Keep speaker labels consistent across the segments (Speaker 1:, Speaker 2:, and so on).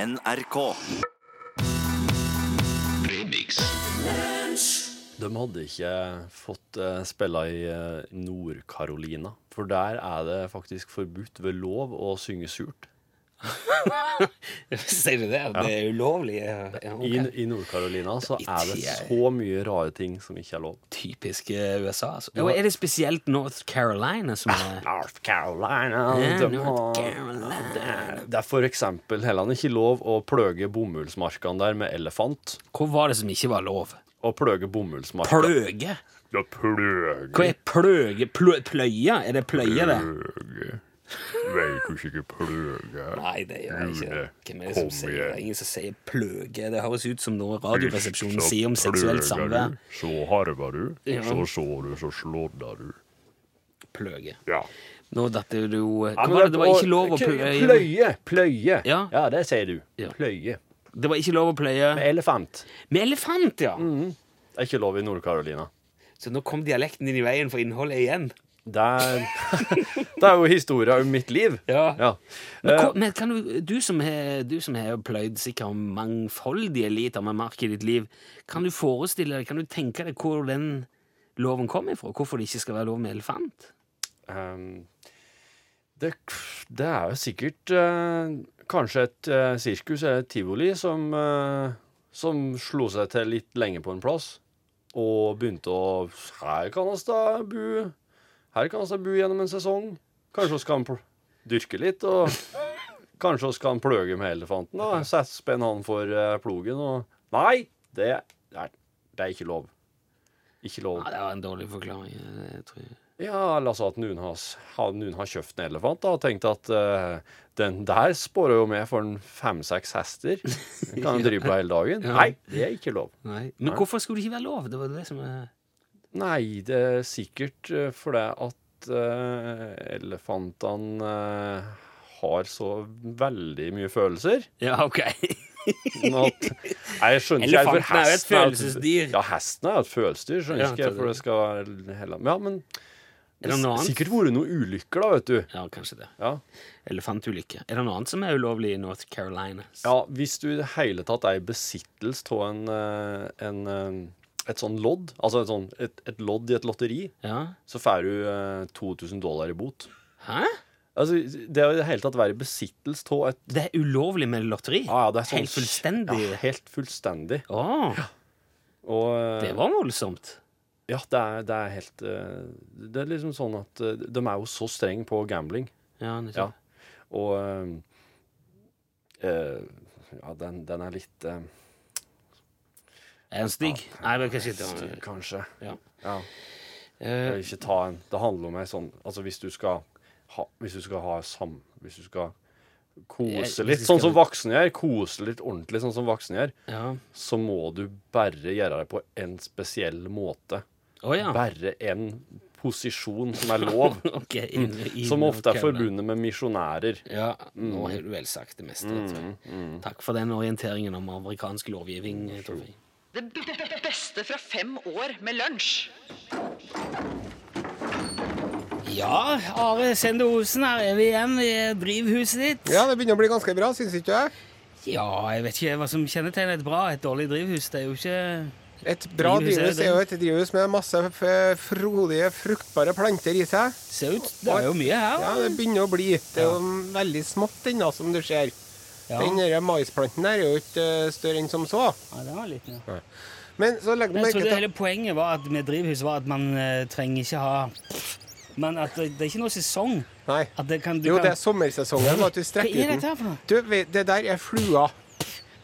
Speaker 1: NRK.
Speaker 2: De hadde ikke fått eh, spille i eh, Nord-Carolina, for der er det faktisk forbudt ved lov å synge surt.
Speaker 3: Sier du det? Det er ulovlig? Ja, ja, ok.
Speaker 2: I, I Nord-Carolina så er det
Speaker 3: Ikke jeg.
Speaker 2: så mye rare ting som ikke er lov.
Speaker 3: Typisk eh, USA, altså. Og er det spesielt North Carolina som er
Speaker 2: North Carolina,
Speaker 3: Ja,
Speaker 2: de
Speaker 3: North
Speaker 2: har-
Speaker 3: Carolina.
Speaker 2: Det er- Det er for eksempel heller ikke lov å pløge bomullsmarkene der med elefant.
Speaker 3: Hvor var det som ikke var lov?
Speaker 2: Å pløge bomullsmarkene
Speaker 3: Pløge?
Speaker 2: Ja, pløge.
Speaker 3: Hva er pløge? Plø, pløye? Er det pløye, det?
Speaker 2: Pløge. Veit du ikke pløge?
Speaker 3: Nei, det gjør jeg ikke.
Speaker 2: Rune,
Speaker 3: Hvem er det som
Speaker 2: kom
Speaker 3: sier det?
Speaker 2: igjen.
Speaker 3: Ingen som sier pløge. Det høres ut som noe Radioresepsjonen sier om seksuelt samvær.
Speaker 2: Så harva du,
Speaker 3: Ja. så
Speaker 2: så du, så slådda du.
Speaker 3: Pløge.
Speaker 2: Ja.
Speaker 3: Nå datt det jo Hva var det? Det var ikke lov å pløye.
Speaker 2: Pløye! Pløye.
Speaker 3: Ja.
Speaker 2: det sier du.
Speaker 3: Ja.
Speaker 2: Pløye.
Speaker 3: Det var ikke lov å pløye
Speaker 2: Med elefant.
Speaker 3: med elefant, ja!
Speaker 2: Det er ikke lov i Nord-Carolina.
Speaker 3: Så nå kom dialekten din i veien for innholdet igjen.
Speaker 2: Det er, det er jo historia om mitt liv.
Speaker 3: Ja. Men,
Speaker 2: Eh,
Speaker 3: hva- men kan du, du som har du som har pløyd sikkert mangfoldige liter med mark i ditt liv, kan du forestille deg, kan du tenke deg hvor den loven kom ifra? Hvorfor det ikke skal være lov med elefant?
Speaker 2: ehm, det, det er jo sikkert eh, kanskje et eh, sirkus eller et tivoli som, eh, som slo seg til litt lenge på en plass, og begynte å Her kan oss da bo Her kan oss da bo gjennom en sesong. Kanskje oss kan pl dyrke litt, og kanskje oss kan pløge med elefanten. da Sette spenn han for eh, plogen og Nei! Det er, det er ikke lov. Ikke lov.
Speaker 3: Ja, det var en dårlig forklaring. eh, Det tror jeg.
Speaker 2: Ja, la oss si at noen har, har, noen har kjøpt en elefant da, og tenkt at eh, den der spårer jo med for en fem-seks hester. Den kan jo drive på hele dagen.
Speaker 3: Ja.
Speaker 2: Nei, det er ikke lov.
Speaker 3: Nei. Men hvorfor skulle det ikke være lov? Det var det som eh,
Speaker 2: Nei, det er sikkert eh, fordi at eh, elefantene eh, har så veldig mye følelser.
Speaker 3: Ja, ok.
Speaker 2: Men At, nei, jeg skjønner ikke
Speaker 3: Elefanten er
Speaker 2: hvorfor
Speaker 3: jo et
Speaker 2: hesten
Speaker 3: følelsesdyr.
Speaker 2: Ja, hesten er jo et følelsesdyr. Skjønner
Speaker 3: Ja,
Speaker 2: ikke hvorfor det skal være heller. Ja, men
Speaker 3: Er
Speaker 2: det
Speaker 3: det noe
Speaker 2: har
Speaker 3: annet?
Speaker 2: sikkert vært noen ulykker, da, vet du.
Speaker 3: Ja, kanskje det.
Speaker 2: Ja.
Speaker 3: Elefantulykke. Er det noe annet som er ulovlig i North Carolina?
Speaker 2: Ja, hvis du i det hele tatt er i besittelse av en, eh, en, eh, et sånn lodd, altså et, sånn, et, et lodd i et lotteri,
Speaker 3: Ja.
Speaker 2: så får du eh, 2000 dollar i bot.
Speaker 3: Hæ?
Speaker 2: Altså, det å i det hele tatt være i besittelse av et
Speaker 3: Det er ulovlig med lotteri?
Speaker 2: Ja, ja, det er sånn-
Speaker 3: Helt fullstendig?
Speaker 2: Ja, helt fullstendig.
Speaker 3: Å,
Speaker 2: Og eh,
Speaker 3: det var voldsomt.
Speaker 2: ja, det er, det er helt eh, Det er liksom sånn at eh, de er jo så strenge på gambling.
Speaker 3: Ja,
Speaker 2: Ja.
Speaker 3: nettopp.
Speaker 2: Og eh, eh, Ja, den, den er litt eh,
Speaker 3: Er den stygg? Nei, men kanskje ikke.
Speaker 2: styr, kanskje.
Speaker 3: Ja.
Speaker 2: ja.
Speaker 3: Eh,
Speaker 2: Jeg vil ikke ta en Det handler om ei sånn Altså hvis du skal ha, hvis du skal ha sam... Hvis du skal kose
Speaker 3: Jeg-
Speaker 2: litt,
Speaker 3: hvis du skal-
Speaker 2: sånn som voksne gjør, kose litt ordentlig, sånn som voksne gjør,
Speaker 3: ja.
Speaker 2: så må du bare gjøre det på en spesiell måte.
Speaker 3: Å ja.
Speaker 2: Bare en posisjon som er lov,
Speaker 3: Ok, inn,
Speaker 4: Mm.
Speaker 3: inn,
Speaker 2: som ofte
Speaker 3: ok,
Speaker 2: er forbundet med misjonærer.
Speaker 3: Ja, nå har du vel sagt det meste. tror
Speaker 4: Mm,
Speaker 3: jeg. Takk for den orienteringen om amerikansk lovgivning. eh, Torfinn.
Speaker 5: Det b- b- beste fra fem år med lunsj.
Speaker 3: Ja, Are Sende Osen, her er vi igjen i drivhuset ditt.
Speaker 4: Ja, det begynner å bli ganske bra, syns ikke jeg?
Speaker 3: Ja, jeg vet ikke hva som kjennetegner et bra, et dårlig drivhus. Det er jo ikke
Speaker 4: Et bra
Speaker 3: Drivhus er
Speaker 4: drivhus
Speaker 3: det.
Speaker 4: er jo et drivhus med masse f- frodige, fruktbare planter i seg.
Speaker 3: Ser ut Det er jo mye her.
Speaker 4: Ja, det begynner å bli. Det er jo veldig smått ennå, som du ser.
Speaker 3: Ja.
Speaker 4: Den der maisplanten der er jo ikke eh, større enn som så.
Speaker 3: Ja, det var litt, ja.
Speaker 4: Men så legger du
Speaker 3: Men jeg
Speaker 4: merke
Speaker 3: trodde
Speaker 4: til
Speaker 3: hele poenget var at med drivhus var at man eh, trenger ikke ha Men at det, det er ikke noe sesong.
Speaker 4: Nei.
Speaker 3: At det kan, du
Speaker 4: Jo,
Speaker 3: kan,
Speaker 4: det er sommersesongen. At du
Speaker 3: Hva
Speaker 4: strekker
Speaker 3: er
Speaker 4: ut
Speaker 3: dette
Speaker 4: den.
Speaker 3: her for noe?
Speaker 4: Du, vet, det der er flua.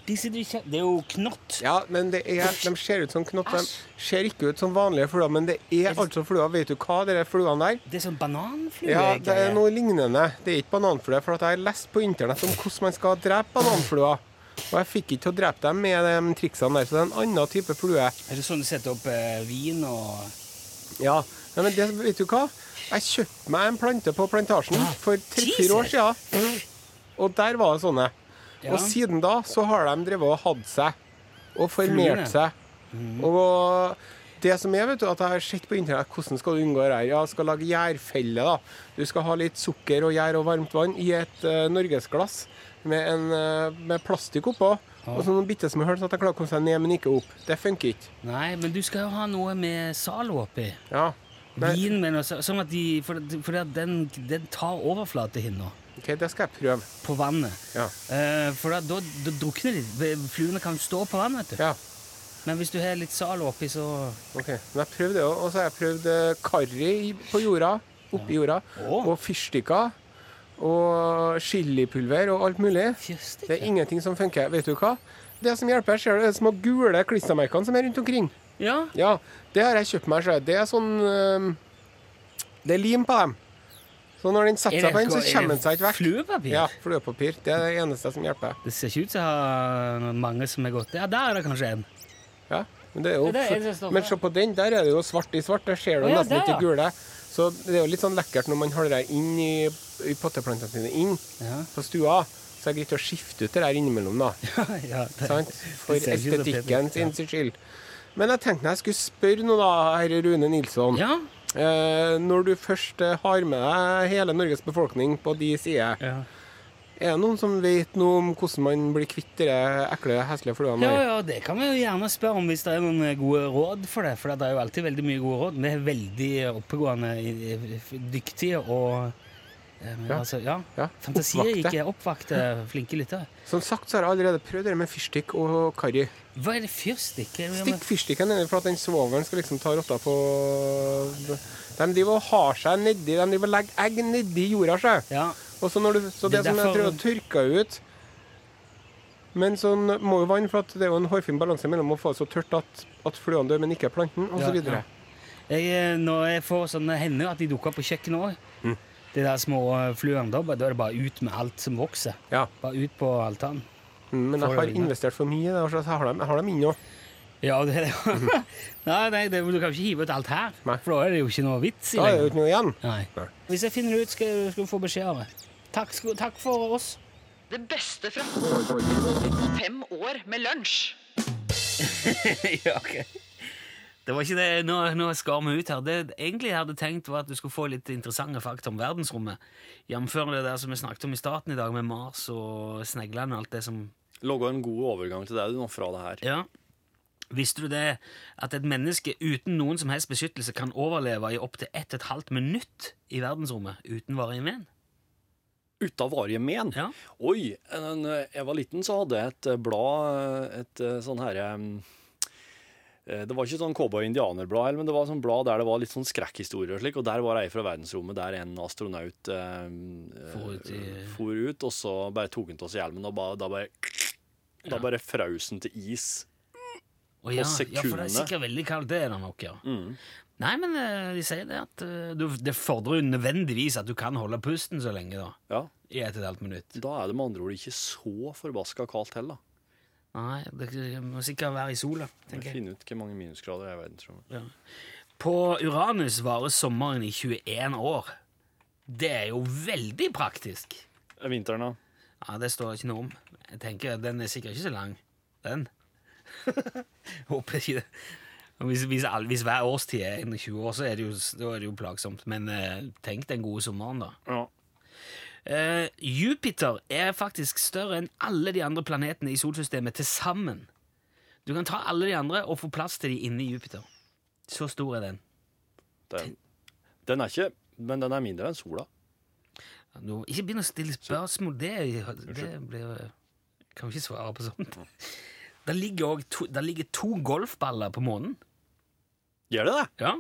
Speaker 3: De sitter i kje- Det er jo knott.
Speaker 4: Ja, men det er, de ser ut som knott.
Speaker 3: Æsj.
Speaker 4: De ser ikke ut som vanlige fluer, men det er altså flua. Vet du hva, de der fluene der?
Speaker 3: Det er sånn bananflue.
Speaker 4: Ja, det er noe lignende. Det er ikke bananflue, for at jeg har lest på internett om hvordan man skal drepe bananfluer. Og jeg fikk ikke til å drepe dem med de triksene der, så det er en annen type flue.
Speaker 3: Er det sånn du setter opp eh, vin og
Speaker 4: Ja, Nei, men det, vet du hva? Jeg kjøpte meg en plante på plantasjen for tre-fire år siden. Og der var det sånne.
Speaker 3: Ja.
Speaker 4: Og siden da så har de drevet og hatt seg. Og
Speaker 3: Fluene.
Speaker 4: formert seg. Og Det som er, vet du, at jeg har sett på internett hvordan skal du unngå det her. Ja, jeg skal lage gjærfelle, da. Du skal ha litt sukker og gjær og varmt vann i et eh, norgesglass med, en, eh, med plastikk oppå. Og så noen bitte små hull, sånn at jeg klarer å komme seg ned, men ikke opp. Det funker ikke.
Speaker 3: Nei, men du skal jo ha noe med Zalo oppi.
Speaker 4: Ja. Nei,
Speaker 3: Vin med noe sa- Sånn at de For, for at den, den tar overflatehinna
Speaker 4: OK, det skal jeg prøve.
Speaker 3: på vannet.
Speaker 4: Ja.
Speaker 3: Eh, for da, da, da drukner de. Fluene kan stå på vannet, vet du.
Speaker 4: ja.
Speaker 3: Men hvis du har litt Zalo oppi, så
Speaker 4: OK. Men jeg prøvde det òg. Og så har jeg prøvd eh, karri i- på jorda. Oppi jorda.
Speaker 3: Å.
Speaker 4: Og fyrstikker. Og chilipulver og alt mulig.
Speaker 3: Fjøstig.
Speaker 4: Det er ingenting som funker. Vet du hva? Det som hjelper, ser du de små gule klistremerkene som er rundt omkring.
Speaker 3: Ja.
Speaker 4: Ja, det har jeg kjøpt meg sjøl. Det er sånn øhm, Det er lim på dem. Så når den setter seg på den, så kommer den seg ikke vekk.
Speaker 3: fluepapir?
Speaker 4: Ja, fluepapir. Det er det eneste som hjelper.
Speaker 3: Det ser ikke ut som jeg har mange som er gått Ja, der er det kanskje en.
Speaker 4: Ja, men det er
Speaker 3: Det er det eneste
Speaker 4: jo
Speaker 3: stoffet.
Speaker 4: Men se på den, der er det jo svart i svart. Der ser du
Speaker 3: Å ja,
Speaker 4: nesten
Speaker 3: der,
Speaker 4: ikke
Speaker 3: ja.
Speaker 4: gule. Så det er jo litt sånn lekkert når man holder det inn i, i potteplantene sine inn
Speaker 3: Ja.
Speaker 4: på stua. Så er det greit å skifte ut det der innimellom, da.
Speaker 3: ja, det-
Speaker 4: Sant? For
Speaker 3: ser ikke så pent ut,
Speaker 4: estetikken sin skyld. Men jeg tenkte jeg skulle spørre nå, da, herre Rune Nilsson.
Speaker 3: ja.
Speaker 4: Eh, når du først eh, har med deg hele Norges befolkning på de sider,
Speaker 3: Ja.
Speaker 4: er det noen som vet noe om hvordan man blir kvitt de ekle, heslige fluene?
Speaker 3: ja,
Speaker 4: der?
Speaker 3: ja, det kan vi jo gjerne spørre om hvis det er noen eh, gode råd for det. For det er jo alltid veldig mye gode råd. Vi er veldig oppegående, i- i- dyktige og eh, men
Speaker 4: Ja.
Speaker 3: Altså, ja.
Speaker 4: Ja,
Speaker 3: Fantasirike, oppvakte, flinke lyttere.
Speaker 4: Som sagt så har jeg allerede prøvd det med fyrstikk og karri.
Speaker 3: Hva er det fyrstikk? Hva er det med-
Speaker 4: Stikk fyrstikken nedi for at den svovelen skal liksom ta rotta på De driver og har seg nedi De driver og legger egg nedi jorda seg.
Speaker 3: Ja.
Speaker 4: Og så, når du, så
Speaker 3: Det
Speaker 4: det,
Speaker 3: er
Speaker 4: som jeg
Speaker 3: derfor-
Speaker 4: tror jeg tørka ut Men sånn må jo vann, for at det er jo en hårfin balanse mellom å få det så tørt at, at fluene dør, men ikke planten,
Speaker 3: Ja,
Speaker 4: osv.
Speaker 3: ja. Jeg, eh, når jeg får sånne hender at de dukker opp på kjøkkenet òg,
Speaker 4: Mm.
Speaker 3: de der små eh, fluene, da bare- da er det bare ut med alt som vokser.
Speaker 4: Ja.
Speaker 3: Bare ut på altanen.
Speaker 4: Mm, Men
Speaker 3: Får
Speaker 4: jeg har
Speaker 3: øynene.
Speaker 4: investert for mye, i det, og så har de, jeg har dem inne òg.
Speaker 3: Ja, det er det. nei, nei, det, du kan ikke hive ut alt her,
Speaker 4: Nei.
Speaker 3: for da er det jo ikke noe vits i
Speaker 4: Da er det jo
Speaker 3: lenger.
Speaker 4: ikke noe igjen.
Speaker 3: Nei.
Speaker 4: Nei.
Speaker 3: Hvis jeg finner det ut, skal, jeg- skal du få beskjed av meg. Takk, sko- takk for oss.
Speaker 5: Det beste fra fem år med lunsj.
Speaker 3: ja, ok. Det var ikke det. Nå, nå skar vi ut her. Det jeg egentlig hadde tenkt var at du skulle få litt interessante fakta om verdensrommet. Jamfør det der som vi snakket om i starten i dag, med Mars og sneglene og alt det som
Speaker 2: Logga en god overgang til deg du nå fra det her.
Speaker 3: Ja. Visste du det at et menneske uten noen som helst beskyttelse kan overleve i opptil 1 12 minutt i verdensrommet uten varige men?
Speaker 2: Uten varige men.
Speaker 3: Ja.
Speaker 2: Oi! En, en, jeg var liten, så hadde jeg et eh, blad Et eh, sånn herre Det var ikke sånn cowboy-indianerblad, eller, men det var sånn blad der det var litt sånn skrekkhistorier og slik, og der var ei fra verdensrommet der en astronaut eh, eh,
Speaker 3: For ut i-
Speaker 2: for ut, og så bare tok han av seg hjelmen, og ba, da bare Da bare frøs han til is.
Speaker 3: Og ja,
Speaker 2: På
Speaker 3: ja, for det er
Speaker 2: sekundene.
Speaker 3: sikkert veldig kaldt, det er det nok, ja. Nei, men eh, de sier det at eh, du, det fordrer jo nødvendigvis at du kan holde pusten så lenge, da.
Speaker 2: Ja.
Speaker 3: I et og et halvt minutt.
Speaker 2: Da er det med andre ord ikke så forbaska kaldt heller. da.
Speaker 3: Nei, det må sikkert være i sola, tenker jeg.
Speaker 2: Finne ut hvor mange minusgrader det er i verdensrommet.
Speaker 3: På Uranus varer sommeren i 21 år. Det er jo veldig praktisk.
Speaker 2: Eh, Vinteren, da?
Speaker 3: Ja, det står ikke noe om. Jeg tenker, Den er sikkert ikke så lang, den. Håper ikke det. Og Hvis, hvis, all- hvis hver årstid er 21 år, så er det jo, da er det jo plagsomt. Men eh, tenk den gode sommeren, da.
Speaker 2: Ja.
Speaker 3: Eh, Jupiter er faktisk større enn alle de andre planetene i solsystemet til sammen. Du kan ta alle de andre og få plass til de inni Jupiter. Så stor er den.
Speaker 2: Den, den er ikke Men den er mindre enn sola.
Speaker 3: Nå, ikke begynn å stille spørsmål. Det, det blir jeg Kan jo ikke svare på sånt. Der ligger, også to, der ligger to golfballer på månen.
Speaker 2: Gjør det det?
Speaker 3: Ja.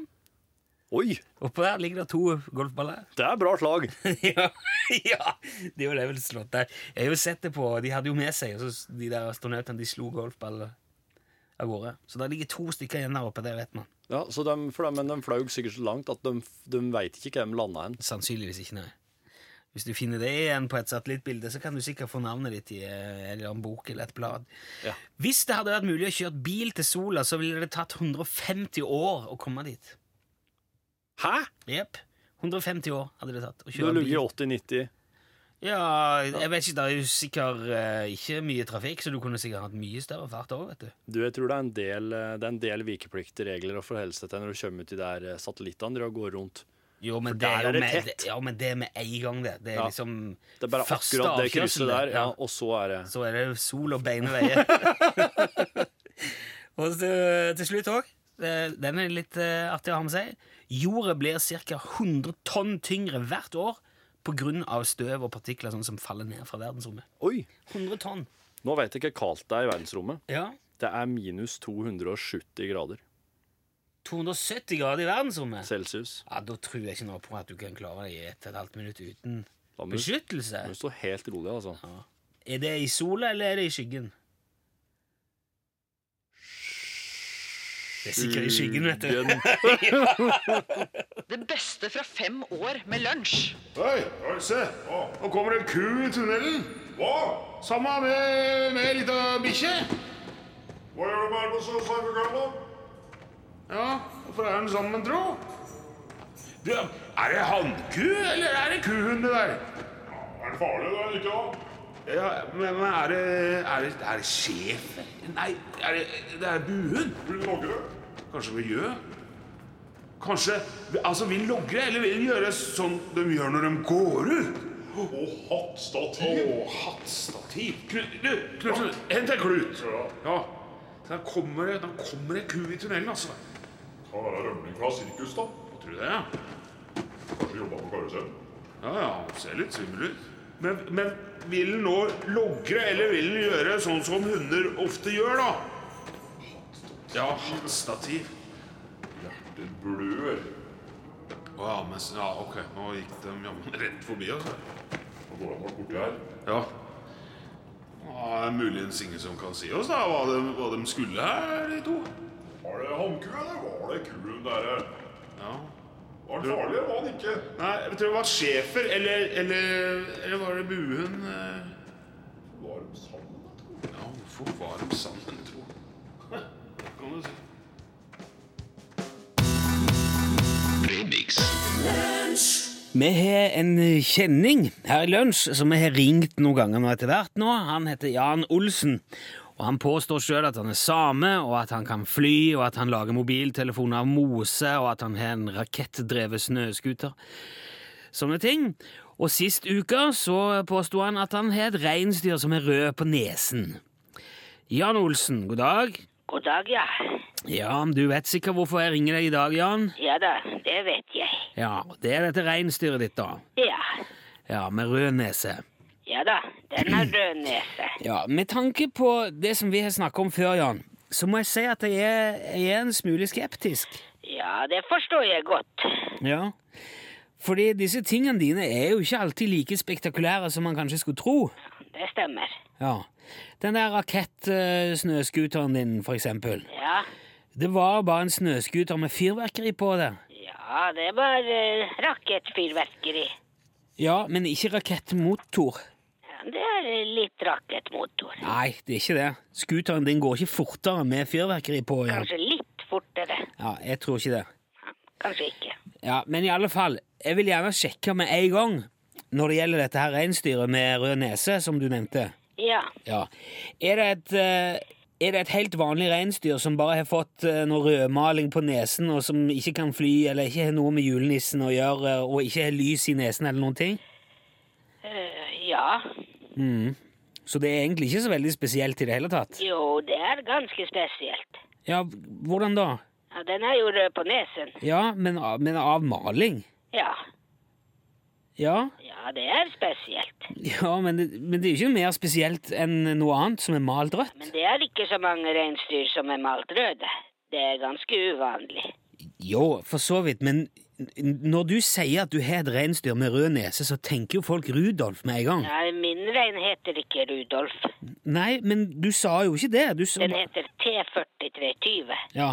Speaker 2: Oi!
Speaker 3: Oppå der ligger det to golfballer.
Speaker 2: Det er bra slag.
Speaker 3: ja, ja, det er jo det vel slått der. Jeg har jo sett det på De hadde jo med seg og så, de der astronautene. De slo golfballer av gårde. Så der ligger to stykker igjen der oppe. Det vet man.
Speaker 2: Ja, så de, for de, men de fløy sikkert så langt at de, de veit ikke hvor de landa hen.
Speaker 3: Sannsynligvis ikke, nei. Hvis du finner det igjen på et satellittbilde, så kan du sikkert få navnet ditt i eh, en eller annen bok eller et blad.
Speaker 2: Ja.
Speaker 3: Hvis det hadde vært mulig å kjøre bil til sola, så ville det tatt 150 år å komme dit.
Speaker 2: Hæ?!
Speaker 3: Jepp. 150 år hadde det tatt å
Speaker 2: Du
Speaker 3: kjøre
Speaker 2: lugger
Speaker 3: bil.
Speaker 2: 80-90.
Speaker 3: Ja, jeg vet ikke, det er jo sikkert eh, ikke mye trafikk, så du kunne sikkert hatt mye større fart òg, vet du.
Speaker 2: Du, jeg tror det er en del, eh, det er en del vikepliktige regler å forholde seg til når du kommer ut i der eh, satellittene driver og går rundt.
Speaker 3: Jo, men
Speaker 2: For
Speaker 3: det er
Speaker 2: der er
Speaker 3: jo
Speaker 2: det
Speaker 3: med,
Speaker 2: tett.
Speaker 3: ja, men det er med en gang, det. Det er
Speaker 2: Ja.
Speaker 3: liksom
Speaker 2: Det er bare
Speaker 3: første
Speaker 2: akkurat det krysset
Speaker 3: avkjørselen,
Speaker 2: der, ja, og så er det
Speaker 3: Så er det jo sol og beine veier. og så, til slutt òg, den er litt eh, artig å ha med seg. Jorda blir ca. 100 tonn tyngre hvert år pga. støv og partikler sånn som faller ned fra verdensrommet.
Speaker 2: Oi!
Speaker 3: 100 tonn.
Speaker 2: Nå vet jeg ikke hvor kaldt det er i verdensrommet.
Speaker 3: Ja.
Speaker 2: Det er minus 270 grader
Speaker 3: 270 grader i verdensrommet.
Speaker 2: celsius.
Speaker 3: Ja, Da tror jeg ikke noe på at du kan klare deg i ett og et halvt minutt uten
Speaker 2: Da må du,
Speaker 3: beskyttelse.
Speaker 2: må du stå helt rolig, altså.
Speaker 3: Er det i sola, eller er det i skyggen? Det er sikkert i skyggen, vet du.
Speaker 2: Skyggen.
Speaker 5: Det beste fra fem år med lunsj.
Speaker 1: Oi, oi, se. Å, nå kommer det en ku i tunnelen. Hva? Samme med, med ei lita bikkje. Hva gjør du bare på så sarkogalla? Ja, hvorfor er den sammen, tro? Du, er det hannku, eller er det kuhund, det der? Er det farlig, da, eller ikke da? Ja, men, men er, det, er, det, er det sjef? Nei, er det, det er buhund. Vil logre? Kanskje miljø? Kanskje Altså, vil logre, eller vil gjøre sånn de gjør når de går ut? Og hattstativ. Og hattstativ. Knut, du, Knutsen, hent en klut. Ja. Der kommer det, der kommer det ku i tunnelen, altså. Kan være rømning fra sirkus, da. Tror du det, ja? Kanskje jobba på karusell? Ja, ja, han ser litt svimmel ut. Men, men vil den nå logre, eller vil den gjøre sånn som hunder ofte gjør, da? Ja, hattstativ. Hjertet blør. Å ja, men s- ja, ok. Nå gikk de jammen rett forbi oss. Nå går de nok borti her. Ja. Ja, det er muligens ingen som kan si oss da, hva de, hva de skulle her, de to. Var det hannkua, eller var det kuen der? Ja. Var den farlig, eller var den ikke? Nei, jeg tror det var schæfer, eller, eller, eller var det buen? Var de sammen, tro? Ja, hvorfor var de sammen, tro? Det kan du si.
Speaker 3: Vi har en kjenning her i lunsj som vi har ringt noen ganger nå etter hvert. nå. Han heter Jan Olsen. og Han påstår sjøl at han er same, og at han kan fly, og at han lager mobiltelefoner av mose, og at han har en rakettdrevet snøscooter. Sånne ting. Og sist uke så påsto han at han har et reinsdyr som er rød på nesen. Jan Olsen, god dag.
Speaker 6: God dag, ja.
Speaker 3: Ja, du vet sikkert hvorfor jeg ringer deg i dag, Jan.
Speaker 6: Ja da, det vet jeg.
Speaker 3: Ja, Det er dette reinsdyret ditt, da.
Speaker 6: Ja.
Speaker 3: Ja, med rød nese.
Speaker 6: Ja da, den har rød nese.
Speaker 3: Ja, Med tanke på det som vi har snakket om før, Jan, så må jeg si at jeg er, jeg er en smule skeptisk.
Speaker 6: Ja, det forstår jeg godt.
Speaker 3: Ja. Fordi disse tingene dine er jo ikke alltid like spektakulære som man kanskje skulle tro.
Speaker 6: Det stemmer.
Speaker 3: Ja. Den der rakettsnøscooteren din, for eksempel.
Speaker 6: Ja,
Speaker 3: Det var bare en snøscooter med fyrverkeri på det.
Speaker 6: ja det var uh, rakettfyrverkeri.
Speaker 3: Ja, men ikke rakettmotor.
Speaker 6: Ja, det er eh, litt rakettmotor.
Speaker 3: Nei, det er ikke det. Scooteren din går ikke fortere med fyrverkeri på. Jan.
Speaker 6: Kanskje litt fortere.
Speaker 3: Ja, jeg tror ikke det.
Speaker 6: Kanskje ikke.
Speaker 3: Ja, men i alle fall, jeg vil gjerne sjekke med en gang når det gjelder dette her reinsdyret med rød nese, som du nevnte.
Speaker 6: Ja.
Speaker 3: Ja. Er det et, eh, er det et helt vanlig reinsdyr som bare har fått eh, noe rødmaling på nesen, og som ikke kan fly, eller ikke har noe med julenissen å gjøre, og ikke har lys i nesen eller noen ting?
Speaker 6: eh, ja.
Speaker 3: Så det er egentlig ikke så veldig spesielt i det hele tatt.
Speaker 6: Jo, det er ganske spesielt.
Speaker 3: Ja, hvordan da?
Speaker 6: Ja, den er jo rød på nesen.
Speaker 3: Ja, men, av- men av maling?
Speaker 6: Ja.
Speaker 3: Ja,
Speaker 6: Ja, det er spesielt.
Speaker 3: ja men, det, men det er jo ikke mer spesielt enn noe annet som er malt rødt.
Speaker 6: Men det er ikke så mange reinsdyr som er malt røde. Det er ganske uvanlig.
Speaker 3: Jo, for så vidt, men n- når du sier at du har et reinsdyr med rød nese, så tenker jo folk Rudolf med en gang.
Speaker 6: Ja, min rein heter ikke Rudolf.
Speaker 3: Nei, men du sa jo ikke det. Du sa
Speaker 6: Den heter T4320.
Speaker 3: Ja.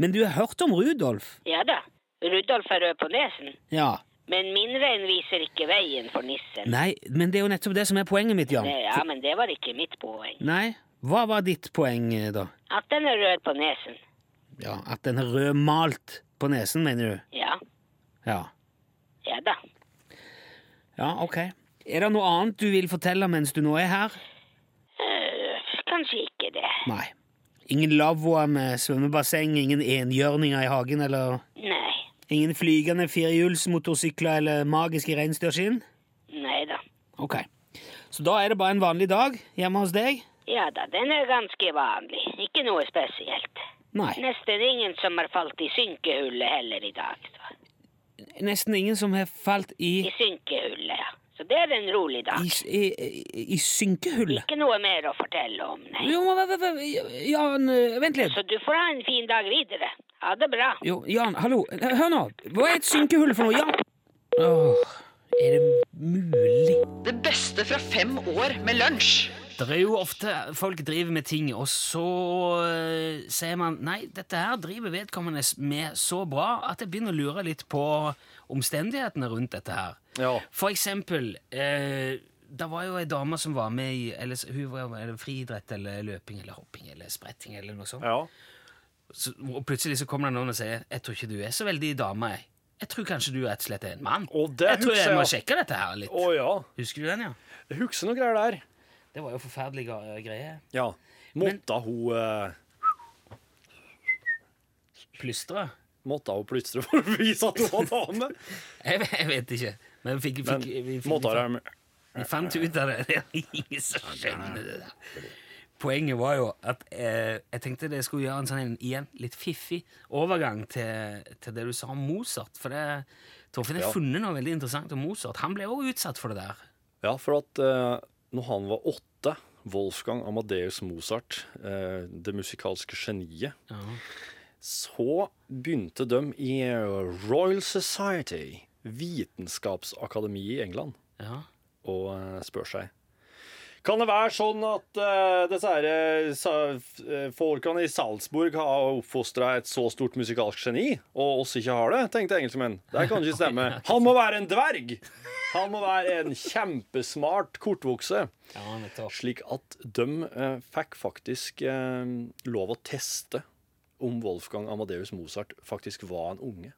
Speaker 3: Men du har hørt om Rudolf?
Speaker 6: Ja da, Rudolf er rød på nesen.
Speaker 3: Ja.
Speaker 6: Men min rein viser ikke veien for nissen.
Speaker 3: Nei, men det er jo nettopp det som er poenget mitt, Jan.
Speaker 6: Det, ja, men det var ikke mitt poeng.
Speaker 3: Nei, hva var ditt poeng, eh, da?
Speaker 6: At den er rød på nesen.
Speaker 3: Ja, At den er rødmalt på nesen, mener du?
Speaker 6: Ja,
Speaker 3: Ja.
Speaker 6: ja da.
Speaker 3: Ja, ok. Er det noe annet du vil fortelle mens du nå er her?
Speaker 6: Øh, kanskje ikke det.
Speaker 3: Nei. Ingen lavvoer med svømmebasseng, ingen enhjørninger i hagen, eller
Speaker 6: Nei.
Speaker 3: ingen flygende firehjulsmotorsykler eller magiske reinsdyrskinn?
Speaker 6: Nei da.
Speaker 3: Ok. Så da er det bare en vanlig dag hjemme hos deg?
Speaker 6: Ja da, den er ganske vanlig. Ikke noe spesielt.
Speaker 3: Nei.
Speaker 6: Nesten ingen som har falt i synkehullet heller i dag. Så.
Speaker 3: Nesten ingen som har falt i
Speaker 6: I synkehullet, ja. Så det er en rolig dag.
Speaker 3: I, i, i, i synkehullet?
Speaker 6: Ikke noe mer å fortelle om, nei.
Speaker 3: Jo, men, men, men, Jan, eh, vent litt.
Speaker 6: Så du får ha en fin dag videre. Ha det bra.
Speaker 3: Jo, Jan, hallo. Hør nå. Hva er et synkehull for noe? Jan? Åh, er det mulig?
Speaker 5: Det beste fra fem år med lunsj.
Speaker 3: Det er jo ofte folk driver med ting, og så eh, sier man nei, dette her driver vedkommende med så bra at jeg begynner å lure litt på omstendighetene rundt dette her.
Speaker 2: Ja.
Speaker 3: For eksempel, eh, det var jo ei dame som var med i eller, s- hun var, eller friidrett eller løping eller hopping eller spretting eller noe sånt.
Speaker 2: Ja.
Speaker 3: Så, og plutselig så kommer det noen og sier jeg tror ikke du er så veldig dame. jeg. Jeg tror kanskje du rett og slett er en mann.
Speaker 2: Å, det
Speaker 3: jeg tror jeg
Speaker 2: husker
Speaker 3: må
Speaker 2: jeg.
Speaker 3: sjekke dette her litt.
Speaker 2: Å ja.
Speaker 3: Husker du den, ja?
Speaker 2: Jeg husker noe greier der.
Speaker 3: Det var jo forferdelige eh, greier.
Speaker 2: Ja. Måtte hun eh,
Speaker 3: Plystre.
Speaker 2: Måtte hun plystre for å vise at hun var dame?
Speaker 3: Jeg, vet- jeg vet ikke. Men vi fikk, fikk,
Speaker 2: Men
Speaker 3: vi, fikk,
Speaker 2: måtte
Speaker 3: vi,
Speaker 2: hun
Speaker 3: fant, vi fant ut av det. Det er ingen som skjønner det der. Poenget var jo at eh, jeg tenkte det skulle gjøre en sånn en, igjen litt fiffig overgang til, til det du sa om Mozart. For det, Torfinn har
Speaker 2: Ja.
Speaker 3: funnet noe veldig interessant om Mozart. Han ble også utsatt for det der.
Speaker 2: Ja, for at eh, når han var åtte, Wolfgang Amadeus Mozart, eh, det musikalske geniet,
Speaker 3: Ja.
Speaker 2: så begynte de i Royal Society, vitenskapsakademiet i England,
Speaker 3: Ja.
Speaker 2: å eh, spørre seg. Kan det være sånn at eh, disse her, eh, sa- eh, folkene i Salzburg har oppfostra et så stort musikalsk geni, og oss ikke har det? tenkte engelskmenn. Det kan ikke stemme. Han må være en dverg! Han må være en kjempesmart kortvokse.
Speaker 3: Ja, nettopp.
Speaker 2: Slik at de eh, fikk faktisk eh, lov å teste om Wolfgang Amadeus Mozart faktisk var en unge.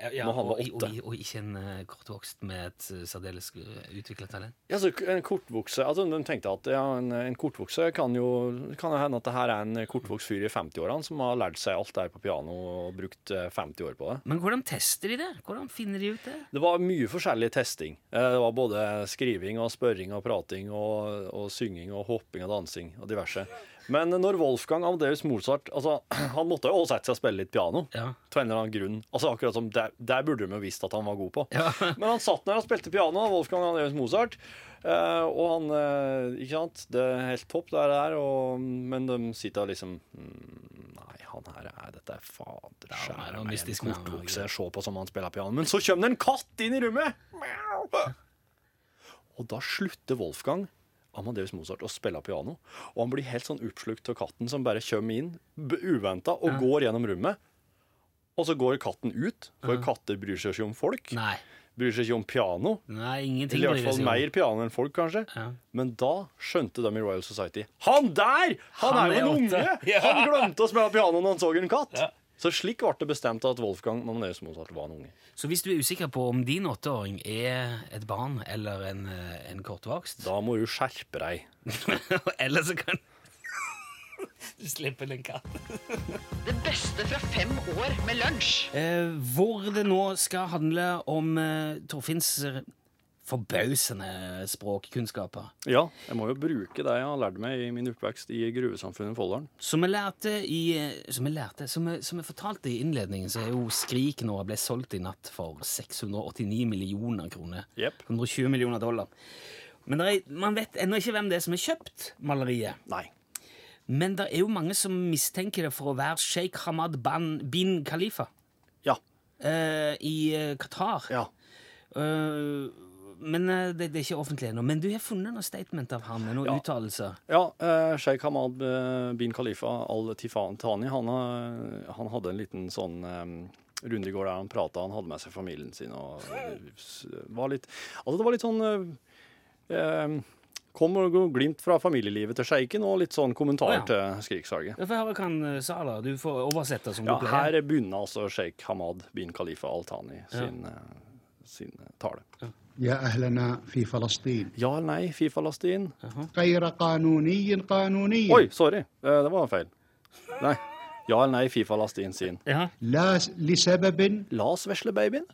Speaker 3: Ja,
Speaker 2: Når han var
Speaker 3: og, og,
Speaker 2: åtte.
Speaker 3: og ikke en eh, kortvokst med et eh, særdeles utvikla talent.
Speaker 2: Ja, så en kortvokse, altså De tenkte at ja, en, en kortvokse kan jo kan det hende at det her er en kortvokst fyr i 50-årene som har lært seg alt det her på piano og brukt eh, 50 år på det.
Speaker 3: Men hvordan tester de det? Hvordan finner de ut det?
Speaker 2: Det var mye forskjellig testing. Eh, Det var både skriving og spørring og prating og, og synging og hopping og dansing og diverse. Men når Wolfgang Amadeus Mozart altså, Han måtte jo også sette seg og spille litt piano.
Speaker 3: Ja.
Speaker 2: Til en eller annen grunn. Altså akkurat som Der, der burde de jo visst at han var god på.
Speaker 3: Ja.
Speaker 2: Men han satt der og spilte piano, Wolfgang Amadeus Mozart. eh, og han eh, Ikke sant? Det er helt topp, det her. er, Og, men de sitter liksom mm, Nei, han her er Dette er fader
Speaker 3: han er
Speaker 2: skjære
Speaker 3: noe
Speaker 2: meg en
Speaker 3: mystisk med han,
Speaker 2: kortvokse jeg se på som han spiller piano. Men så kommer det en katt inn i rommet! Mjau. Og da slutter Wolfgang Amadeus Mozart å spille piano. Og han blir helt sånn oppslukt av katten som bare kommer inn uventa og går gjennom rommet. Og så går katten ut, for katter bryr seg ikke om folk.
Speaker 3: Nei.
Speaker 2: Bryr seg ikke om piano.
Speaker 3: Nei, ingenting
Speaker 2: Eller i hvert
Speaker 3: bryr
Speaker 2: fall
Speaker 3: seg om.
Speaker 2: mer piano enn folk, kanskje.
Speaker 3: Ja.
Speaker 2: Men da skjønte de i Royal Society Han der! Han,
Speaker 3: Han
Speaker 2: er jo
Speaker 3: er
Speaker 2: en
Speaker 3: åtte.
Speaker 2: unge! Han glemte å spille piano når han så en katt! Så slik ble det bestemt at Wolfgang Amadeus Mozart var en unge.
Speaker 3: Så hvis du er usikker på om din åtteåring er et barn eller en, eh, en kortvokst
Speaker 2: Da må du skjerpe deg.
Speaker 3: Eller så kan du slippe den katten.
Speaker 5: Det beste fra fem år med lunsj.
Speaker 3: Eh, hvor det nå skal handle om eh, Torfinns eh, forbausende språkkunnskaper.
Speaker 2: Ja, jeg må jo bruke det jeg har lært meg i min oppvekst i gruvesamfunnet Folldalen.
Speaker 3: Som jeg lærte i eh, Som jeg, lærte, som jeg, som jeg fortalte i innledningen, så er jo Skrik nå ble solgt i natt for 689 millioner kroner.
Speaker 2: Jepp.
Speaker 3: 120 millioner dollar. Men det er, man vet ennå ikke hvem det er som har kjøpt maleriet.
Speaker 2: Nei.
Speaker 3: Men det er jo mange som mistenker det for å være sjeik Hamad Ban bin Khalifa
Speaker 2: Ja.
Speaker 3: eh, i eh, Qatar.
Speaker 2: Ja.
Speaker 3: Eh, men eh, det, det er ikke offentlig ennå. Men du har funnet noen statement av ham? Noen
Speaker 2: Ja.
Speaker 3: uttalelser?
Speaker 2: ja eh, Sheikh Hamad eh, bin Khalifa al-Tifani han, eh, han hadde en liten sånn eh, runde i går der han prata. Han hadde med seg familien sin og eh, s- var litt Altså, det var litt sånn eh, eh, Kom og gå glimt fra familielivet til sjeiken og litt sånn kommentar
Speaker 3: Å, ja.
Speaker 2: til Skriksaget.
Speaker 3: Jeg får høre hva han eh, sa, da. Du får oversette som
Speaker 2: Ja,
Speaker 3: du pleier.
Speaker 2: her begynner altså sjeik Hamad bin Khalifa al-Tani sin, eh, sin eh, tale.
Speaker 7: يا أهلنا في فلسطين
Speaker 2: Ja eller nei, Fifa-lastein?
Speaker 7: غير قانوني قانوني
Speaker 2: Oi, sorry. Eh, Det var feil. Nei. Ja eller nei, Fifa-lastein sin.
Speaker 3: Ja.
Speaker 7: لا س- لسبب
Speaker 2: La oss vesle babyen.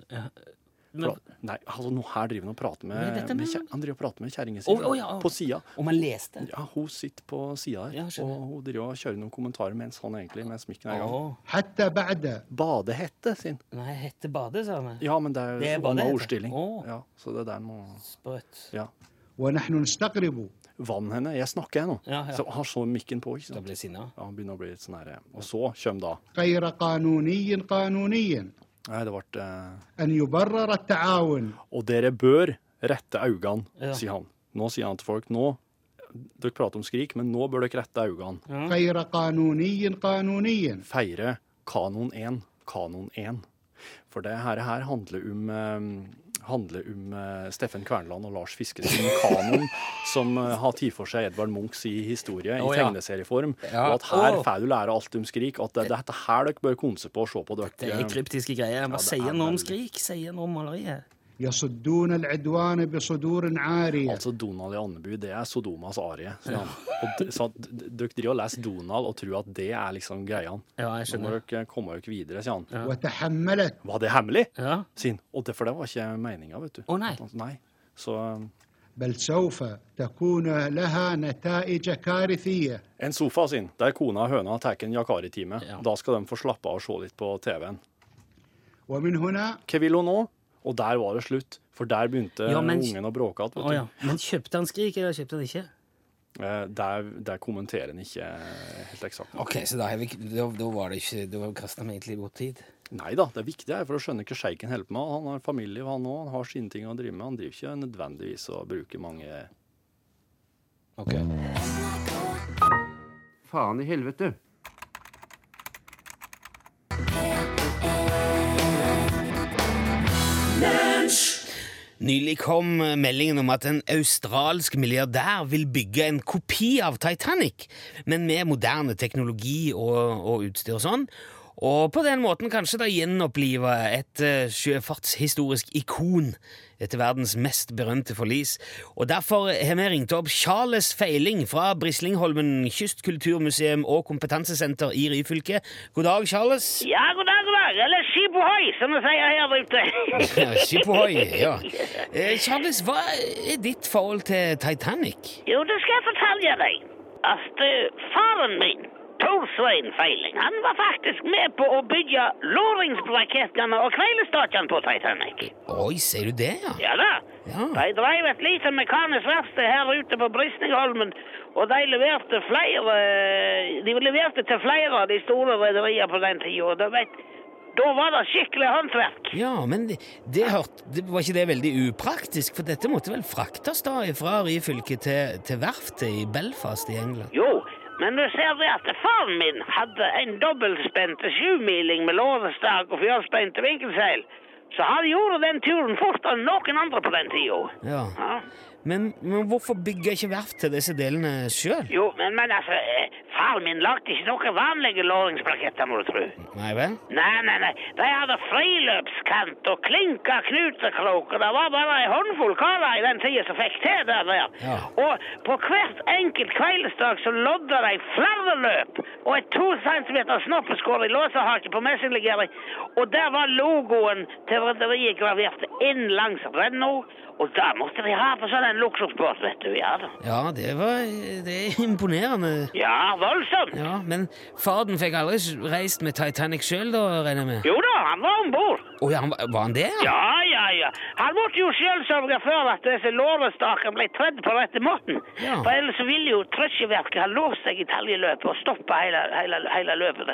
Speaker 3: Men-
Speaker 2: Fra- Nei, altså, nå her driver han og prater
Speaker 3: Men dette
Speaker 2: med, med
Speaker 3: med-
Speaker 2: kjer- Han driver og prater med kjerringa si
Speaker 3: Å, å, ja, å.
Speaker 2: på sida.
Speaker 3: Om han leste?
Speaker 2: Ja, hun sitter på sida her,
Speaker 3: Ja, skjønner.
Speaker 2: og hun driver og kjører noen kommentarer mens han egentlig med smykken er i gang.
Speaker 3: Å,
Speaker 7: حتى بعد
Speaker 2: Badehette sin.
Speaker 3: Nei, hette Bade, sa han.
Speaker 2: Ja, men det er
Speaker 3: Det er
Speaker 2: jo han har
Speaker 3: badehette.
Speaker 2: ordstilling.
Speaker 3: Å.
Speaker 2: Ja, så det der må
Speaker 3: Sprøtt.
Speaker 2: Ja.
Speaker 7: ونحن نستغرب
Speaker 2: Vann henne. Jeg snakker, jeg nå.
Speaker 3: Ja, ja.
Speaker 2: Så har så mikken på. ikke
Speaker 3: Da
Speaker 2: sant?
Speaker 3: ble jeg sinna.
Speaker 2: Ja, han begynner å bli litt sånn her Og så kommer da
Speaker 7: غير قانوني قانونيا
Speaker 2: Nei, det ble eh,
Speaker 7: أن يبرر التعاون
Speaker 2: Og dere bør rette øynene,
Speaker 3: Ja.
Speaker 2: sier han. Nå sier han til folk nå, Dere prater om skrik, men nå bør dere rette øynene.
Speaker 7: غير قانوني قانونيا
Speaker 2: Feire kanon 1, kanon 1. For det her, her handler om eh, handler om eh, Steffen Kverneland og Lars Fiske sin kanon, som eh, har tatt for seg Edvard Munchs i historie
Speaker 3: Å,
Speaker 2: i
Speaker 3: ja.
Speaker 2: tegneserieform.
Speaker 3: Ja.
Speaker 2: Og at her
Speaker 3: Å.
Speaker 2: får du lære alt om skrik, og at det, det er dette her dere bør konse på og se på. Dere. eh,
Speaker 3: Det er kryptiske greier. Hva
Speaker 2: det
Speaker 3: sier
Speaker 2: er
Speaker 3: han om
Speaker 2: veldig.
Speaker 3: skrik? Sier han om maleriet?
Speaker 7: يصدون العدوان بصدور عارية
Speaker 2: Altså Donald i Andeby, det er Sodomas arie. sier han. Og d- så at d- d- dere driver og leser Donald og tror at det er liksom greia.
Speaker 3: Ja, jeg
Speaker 2: Så må
Speaker 3: skjønner.
Speaker 2: dere komme dere videre, sier han.
Speaker 7: وتحملت
Speaker 2: Var det hemmelig?
Speaker 3: Ja.
Speaker 2: Sier han. Og det, for det var ikke meninga, vet du.
Speaker 3: Å, nei.
Speaker 2: At han- nei. Så um,
Speaker 7: بل سوف تكون لها نتائج كارثية
Speaker 2: en sofa, sier han. Der kona og høna tar en Yakari-time.
Speaker 3: Ja.
Speaker 2: Da skal de få slappe av og se litt på TV-en.
Speaker 7: ومن هنا
Speaker 2: Hva vil hun nå? Og der var det slutt. For der begynte
Speaker 3: Ja, men-
Speaker 2: ungen å bråke igjen.
Speaker 3: Å, ja. Men kjøpte han skrik, eller kjøpte han ikke?
Speaker 2: Eh, Der, der kommenterer han ikke eh, helt eksakt.
Speaker 3: Ok, så da, har vi, da, da var det ikke Da kasta vi egentlig bort tid.
Speaker 2: Nei da, det er viktig her, for å skjønne hva sjeiken holder på med. Han har familie, han òg. Han har sine ting å drive med. Han driver ikke nødvendigvis og bruker mange
Speaker 3: Ok.
Speaker 8: Faen i helvete.
Speaker 3: Nylig kom eh, meldingen om at en australsk milliardær vil bygge en kopi av Titanic, men med moderne teknologi og, og utstyr og sånn. Og på den måten kanskje da gjenopplive et eh, sjøfartshistorisk ikon etter verdens mest berømte forlis. Og derfor har vi ringt opp Charles Feiling fra Brislingholmen kystkulturmuseum og kompetansesenter i Ryfylke. God dag, Charles.
Speaker 9: Ja, god dag, god dag. Eller skip ohoi, som vi sier her ute.
Speaker 3: Ja, Skipohoi, ja. Eh, Charles, hva er ditt forhold til Titanic?
Speaker 9: jo, det skal jeg fortelle deg. At eh, faren min, Tor Svein Feiling, han var faktisk med på å bygge låringsbrakettene og kveilestakene på Titanic.
Speaker 3: Oi, sier du det, ja?
Speaker 9: Ja da.
Speaker 3: Ja.
Speaker 9: De drev et lite mekanisk verksted her ute på Brysningholmen, og de leverte flere De leverte til flere av de store rederiene på den tida. og da vet- Da var det skikkelig håndverk.
Speaker 3: Ja, men det, det, hørt, det var ikke det veldig upraktisk, for dette måtte vel fraktes da fra Ryfylke til, til verftet i Belfast i England?
Speaker 9: Jo, men du ser det at faren min hadde en dobbeltspente sjumiling med lårestag og fjørspente vinkelseil. Så han gjorde den turen fortere enn noen andre på den tida.
Speaker 3: Ja.
Speaker 9: Ja.
Speaker 3: Men, men hvorfor bygger ikke verft til disse delene sjøl?
Speaker 9: Jo, men, men altså, eh, faren min lagde ikke noen vanlige låringsplaketter, må du tro.
Speaker 3: Nei vel?
Speaker 9: Nei, nei, nei. De hadde friløpskant og klinka knutekrok, og det var bare ei håndfull karer i den tida som fikk til det der.
Speaker 3: Ja.
Speaker 9: Og på hvert enkelt kveldsdag så lodda de flere løp og et to centimeter snoppeskår i låsehake på messinglegering, og der var logoen til rederiet gravert inn langs renna, og da måtte de ha på sånn en luksusbåt, vet du. Ja, da.
Speaker 3: Ja, det var Det er imponerende.
Speaker 9: ja voldsomt.
Speaker 3: Ja, Men faren fikk aldri reist med Titanic sjøl, da, regner jeg med?
Speaker 9: Jo da, han var om bord.
Speaker 3: Å ja, han var- var han det?
Speaker 9: Ja, ja, ja. Han måtte jo sjøl sørge for at disse lårestakene ble tredd på rette måten.
Speaker 3: Ja.
Speaker 9: For ellers så ville jo trøkkeverket ha låst seg i taljeløpet og stoppa hele, hele, hele løpet.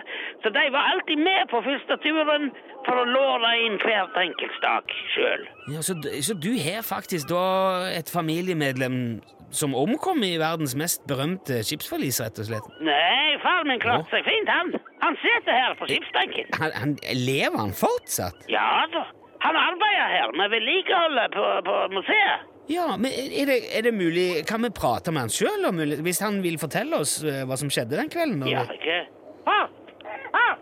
Speaker 9: Så de var alltid med på første turen for å låre inn hvert enkelt stak sjøl.
Speaker 3: Ja, så, d- så du har faktisk da et familiemedlem som omkom i verdens mest berømte skipsforlis, rett og slett?
Speaker 9: Nei, far min klarte seg fint, han. Han sitter her på skipsbenken.
Speaker 3: Han, han, lever han fortsatt?
Speaker 9: Ja da. Han arbeider her med vedlikeholdet på, på museet.
Speaker 3: Ja, men er det, er det mulig Kan vi prate med han sjøl, om mulig- hvis han vil fortelle oss eh, hva som skjedde den kvelden? når
Speaker 9: Ja,
Speaker 3: vi-
Speaker 9: ikke Her! Her!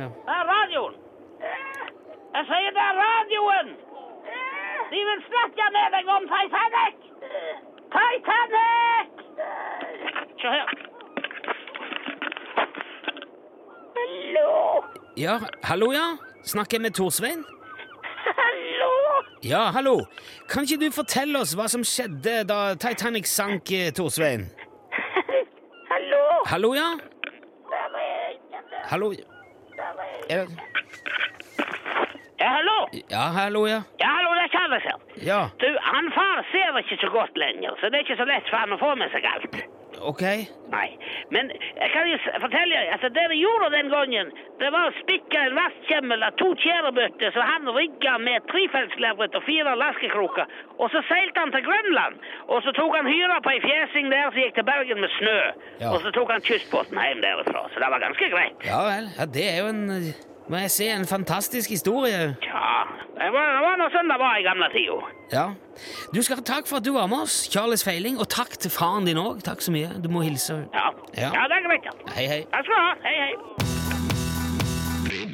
Speaker 3: Ja.
Speaker 9: Her er radioen! Jeg sier det er radioen! De vil snakke med deg om Titanic! Titanic! Se her. Hallo?
Speaker 3: Ja, hallo, ja? Snakker jeg med Torsvein?
Speaker 9: Hallo?
Speaker 3: Ja, hallo. Kan ikke du fortelle oss hva som skjedde da Titanic sank, eh, Torsvein?
Speaker 9: Hallo?
Speaker 3: Hallo, ja? Hallo Er-
Speaker 9: Ja, hallo?
Speaker 3: Ja, hallo, ja.
Speaker 9: Ja, hallo, det er Charles her.
Speaker 3: Ja,
Speaker 9: Du, han far ser ikke så godt lenger, så det er ikke så lett for han å få med seg alt.
Speaker 3: ok.
Speaker 9: Nei, men jeg kan jo s- fortelle deg, altså det de gjorde den gangen, det var å spikke en vastkjemmel av to tjærebøtter, så han rygget med trefeltslevrett og fire laskekroker, og så seilte han til Grønland, og så tok han hyra på en fjesing der, så gikk til Bergen med snø,
Speaker 3: Ja.
Speaker 9: og så tok han kystbåten hjem derifra, så det var ganske greit.
Speaker 3: Ja vel. Ja, det er jo en eh, Må jeg si, en fantastisk historie.
Speaker 9: Ja, det var, det var noe sånn det var i gamle tider.
Speaker 3: Ja. Du skal ha takk for at du var med oss, Charles Feiling, og takk til faren din òg. Takk så mye. Du må hilse.
Speaker 9: Ja,
Speaker 3: Ja.
Speaker 9: ja det er greit, ja.
Speaker 3: Hei, hei.
Speaker 9: Takk skal du ha, hei, hei.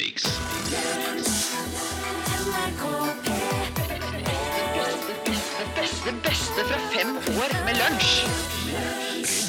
Speaker 5: Det beste fra fem år med lunsj.